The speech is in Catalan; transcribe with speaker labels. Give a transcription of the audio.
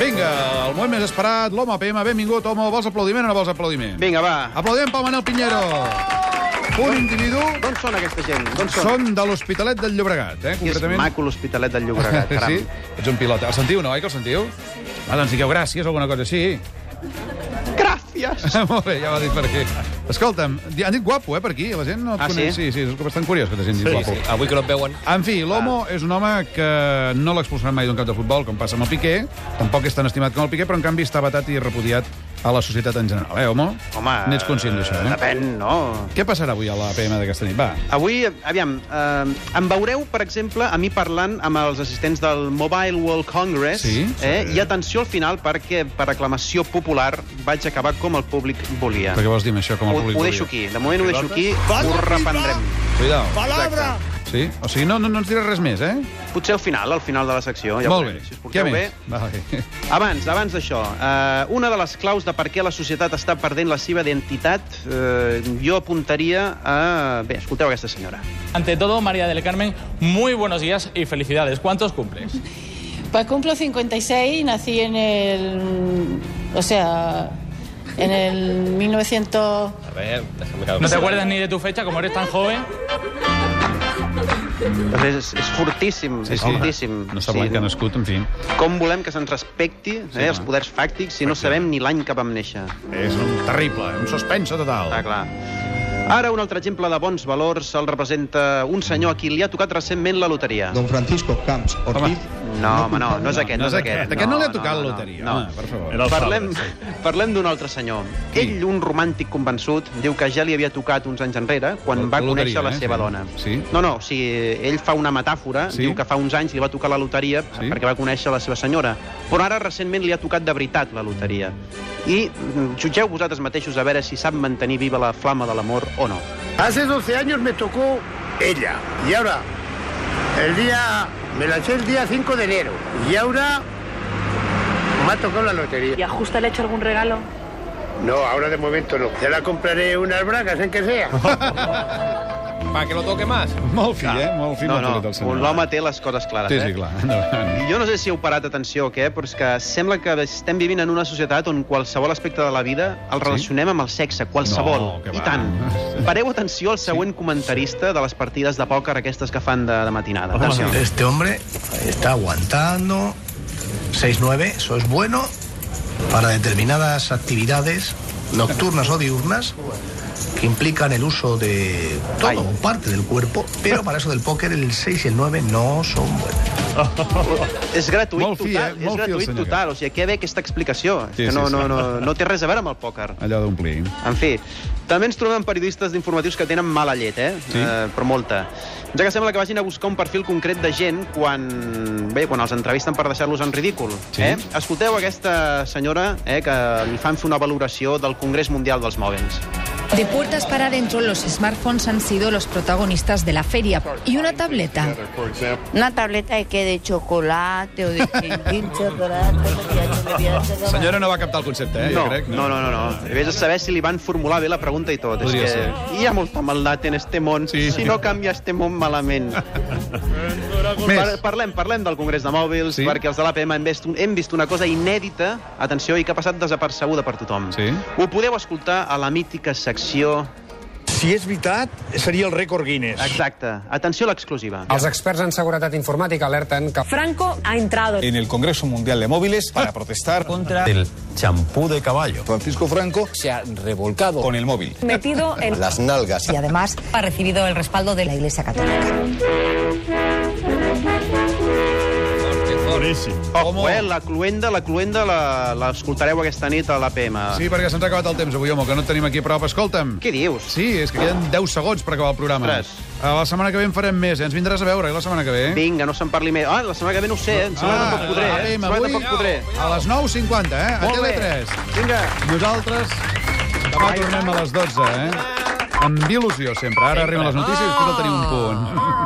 Speaker 1: Vinga, el moment més esperat, l'home PM. Benvingut, home. Vols aplaudiment o no vols aplaudiment?
Speaker 2: Vinga, va.
Speaker 1: Aplaudiment pel Manel Pinheiro. Un individu
Speaker 2: D'on són aquesta gent? D'on són?
Speaker 1: són de l'Hospitalet del Llobregat, eh?
Speaker 2: Que És
Speaker 1: Concretament...
Speaker 2: maco l'Hospitalet del Llobregat, caram.
Speaker 1: sí? Ets un pilota. El sentiu, no, oi que el sentiu? Ah, doncs digueu gràcies o alguna cosa així.
Speaker 2: Gràcies!
Speaker 1: Molt bé, ja va dit per aquí. Escolta'm, di- han dit guapo, eh, per aquí. La gent no et
Speaker 2: Ah, sí?
Speaker 1: coneix. Sí, sí, és bastant curiós que t'hagin dit
Speaker 3: Sí,
Speaker 1: guapo.
Speaker 3: sí. Avui que no et veuen...
Speaker 1: En fi, l'Homo és un home que no l'expulsaran mai d'un cap de futbol, com passa amb el Piqué. Tampoc és tan estimat com el Piqué, però en canvi està vetat i repudiat a la societat en general. Eh, Homo?
Speaker 2: Home...
Speaker 1: N'ets conscient d'això, eh?
Speaker 2: Depèn, no?
Speaker 1: Què passarà avui a la PM d'aquesta nit? Va,
Speaker 2: Avui, aviam, eh, em veureu, per exemple, a mi parlant amb els assistents del Mobile World Congress,
Speaker 1: Sí, sí.
Speaker 2: eh? i atenció al final, perquè per aclamació popular vaig acabar com el públic volia.
Speaker 1: però què vols dir amb això com
Speaker 2: Ho,
Speaker 1: a públic?
Speaker 2: ho deixo aquí, de moment ho deixo aquí, ho reprendrem.
Speaker 1: Cuidao.
Speaker 4: Palabra.
Speaker 1: Sí? O sigui, no, no, no ens diràs res més, eh?
Speaker 2: Potser al final, al final de la secció. Ja ho
Speaker 1: Molt
Speaker 2: veurem,
Speaker 1: bé.
Speaker 2: Si us
Speaker 1: Què
Speaker 2: porteu bé,
Speaker 1: més? Vale.
Speaker 2: Abans, abans d'això, eh, una de les claus de per què la societat està perdent la seva identitat, eh, jo apuntaria a... Bé, escolteu aquesta senyora.
Speaker 5: Ante todo, María del Carmen, muy buenos días y felicidades. ¿Cuántos cumples?
Speaker 6: Pues cumplo 56 y nací en el. O sea, en el 1900.
Speaker 3: A veure, deixa'm que...
Speaker 5: No te acuerdas ni de tu fecha, como eres tan joven.
Speaker 2: Doncs és, és fortíssim, sí, és fortíssim.
Speaker 1: No sembla que ha nascut, en fi.
Speaker 2: Com volem que se'ns respecti eh, els poders fàctics si no sabem ni l'any que vam néixer?
Speaker 1: És un terrible, un suspense total.
Speaker 2: Està clar. Ara, un altre exemple de bons valors el representa un senyor a qui li ha tocat recentment la loteria.
Speaker 4: Don Francisco Camps Ortiz.
Speaker 2: No, home, no, no és aquest,
Speaker 1: No
Speaker 2: no
Speaker 1: és aquest. Aquest no li ha tocat la loteria,
Speaker 2: No,
Speaker 1: home, per favor.
Speaker 2: Era el Parlem, parlem d'un altre senyor. Ell, un romàntic convençut, diu que ja li havia tocat uns anys enrere
Speaker 1: La-
Speaker 2: quan va
Speaker 1: la
Speaker 2: conèixer
Speaker 1: loteria,
Speaker 2: la
Speaker 1: eh?
Speaker 2: seva
Speaker 1: Sí.
Speaker 2: dona.
Speaker 1: Sí.
Speaker 2: No, no, o sigui, ell fa una metàfora,
Speaker 1: Sí.
Speaker 2: diu que fa uns anys li va tocar la loteria
Speaker 1: Sí.
Speaker 2: perquè va conèixer la seva senyora, però ara recentment li ha tocat de veritat la loteria. I mm, jutgeu vosaltres mateixos a veure si sap mantenir viva la flama de l'amor o no.
Speaker 7: Hace 12 años me tocó ella. Y ahora, el día. Me lancé el día 5 de enero. Y ahora. Me ha tocado la lotería.
Speaker 8: ¿Y a Justa le ha hecho algún regalo?
Speaker 7: No, ahora de momento no. Ya la compraré unas bragas, en que sea.
Speaker 3: Pa, que lo toque más.
Speaker 1: Molt fi, eh? Molt fi,
Speaker 2: No,
Speaker 1: molt fi,
Speaker 2: no,
Speaker 1: el senyor.
Speaker 2: l'home té les coses clares,
Speaker 1: Sí,
Speaker 2: eh?
Speaker 1: sí, clar. Endavant.
Speaker 2: Jo no sé si heu parat atenció o què, però és que sembla que estem vivint en una societat on qualsevol aspecte de la vida el relacionem amb el sexe, qualsevol,
Speaker 1: No, que
Speaker 2: i
Speaker 1: va.
Speaker 2: tant. Pareu atenció al següent comentarista de les partides de pòquer aquestes que fan de, de matinada. Atenció.
Speaker 9: Este hombre está aguantando. 6-9, eso es bueno para determinadas actividades nocturnas o diurnas que implican el uso de todo
Speaker 2: Ay.
Speaker 9: o parte del cuerpo, pero para eso del póker el 6 y el 9 no son buenos.
Speaker 2: És gratuït
Speaker 1: Molt fi, eh? Molt
Speaker 2: total, és
Speaker 1: fi el
Speaker 2: gratuït
Speaker 1: senyor
Speaker 2: total. O sigui, què ve aquesta explicació? És
Speaker 1: Sí,
Speaker 2: que
Speaker 1: sí,
Speaker 2: no,
Speaker 1: sí.
Speaker 2: no, no, no té res a veure amb el pòquer.
Speaker 1: Allò d'omplir.
Speaker 2: En fi, també ens trobem periodistes d'informatius que tenen mala llet, eh?
Speaker 1: Sí.
Speaker 2: eh? Però molta. Ja que sembla que vagin a buscar un perfil concret de gent quan, bé, quan els entrevisten per deixar-los en ridícul.
Speaker 1: Sí.
Speaker 2: Eh? Escolteu aquesta senyora eh, que li fan fer una valoració del Congrés Mundial dels Mòbils.
Speaker 10: De puertas para adentro, los smartphones han sido los protagonistas de la feria. Y una tableta.
Speaker 8: Una tableta de que de chocolate o de
Speaker 1: Senyora no va captar el concepte, eh?
Speaker 2: no,
Speaker 1: jo crec.
Speaker 2: no, no, no, no. Vés a saber si li van formular bé la pregunta i tot.
Speaker 1: Podria
Speaker 2: És que
Speaker 1: ser.
Speaker 2: hi ha molta maldat en este món.
Speaker 1: Sí.
Speaker 2: Si no canvia este món malament.
Speaker 1: Més.
Speaker 2: Par parlem, parlem del Congrés de Mòbils,
Speaker 1: Sí.
Speaker 2: sí. perquè els de l'APM hem, vist un- hem vist una cosa inèdita, atenció, i que ha passat desapercebuda per tothom.
Speaker 1: Sí.
Speaker 2: Ho podeu escoltar a la mítica secció...
Speaker 4: Si és veritat, seria el rècord Guinness.
Speaker 2: Exacte. Atenció a l'exclusiva.
Speaker 1: Ah,
Speaker 9: Els experts en seguretat informàtica alerten que
Speaker 8: Franco ha entrado.
Speaker 4: En el Congreso Mundial de Móviles para protestar contra
Speaker 9: el champú de caballo
Speaker 4: Francisco Franco
Speaker 9: se ha revolcado
Speaker 4: con el móvil.
Speaker 8: Metido en...
Speaker 9: las nalgas.
Speaker 10: Y además ha recibido el respaldo de la Iglesia Católica.
Speaker 2: Ojo, eh? La cluenda, la cluenda, la- l'escoltareu aquesta nit a l'APM.
Speaker 1: Sí, perquè se'ns ha acabat el temps avui, home, que no et tenim aquí a prop. Escolta'm.
Speaker 2: Què dius?
Speaker 1: Sí, és que queden 10 segons per acabar el programa.
Speaker 2: Ostres.
Speaker 1: A la setmana que ve en farem més, eh? Ens vindràs a veure, eh, la setmana que ve? Ah,
Speaker 2: Vinga, no se'n parli més. Ah, la setmana que ve no ho sé, eh? Em sembla que tampoc podré, eh? Em
Speaker 1: APM,
Speaker 2: sembla que
Speaker 1: avui Ah,
Speaker 2: tampoc podré.
Speaker 1: a les 9.50, eh? A
Speaker 2: Molt bé.
Speaker 1: Tele3.
Speaker 2: Vinga.
Speaker 1: Nosaltres demà tornem a les 12, eh? Amb il·lusió, sempre. Ara arriben les notícies i després el tenim un punt.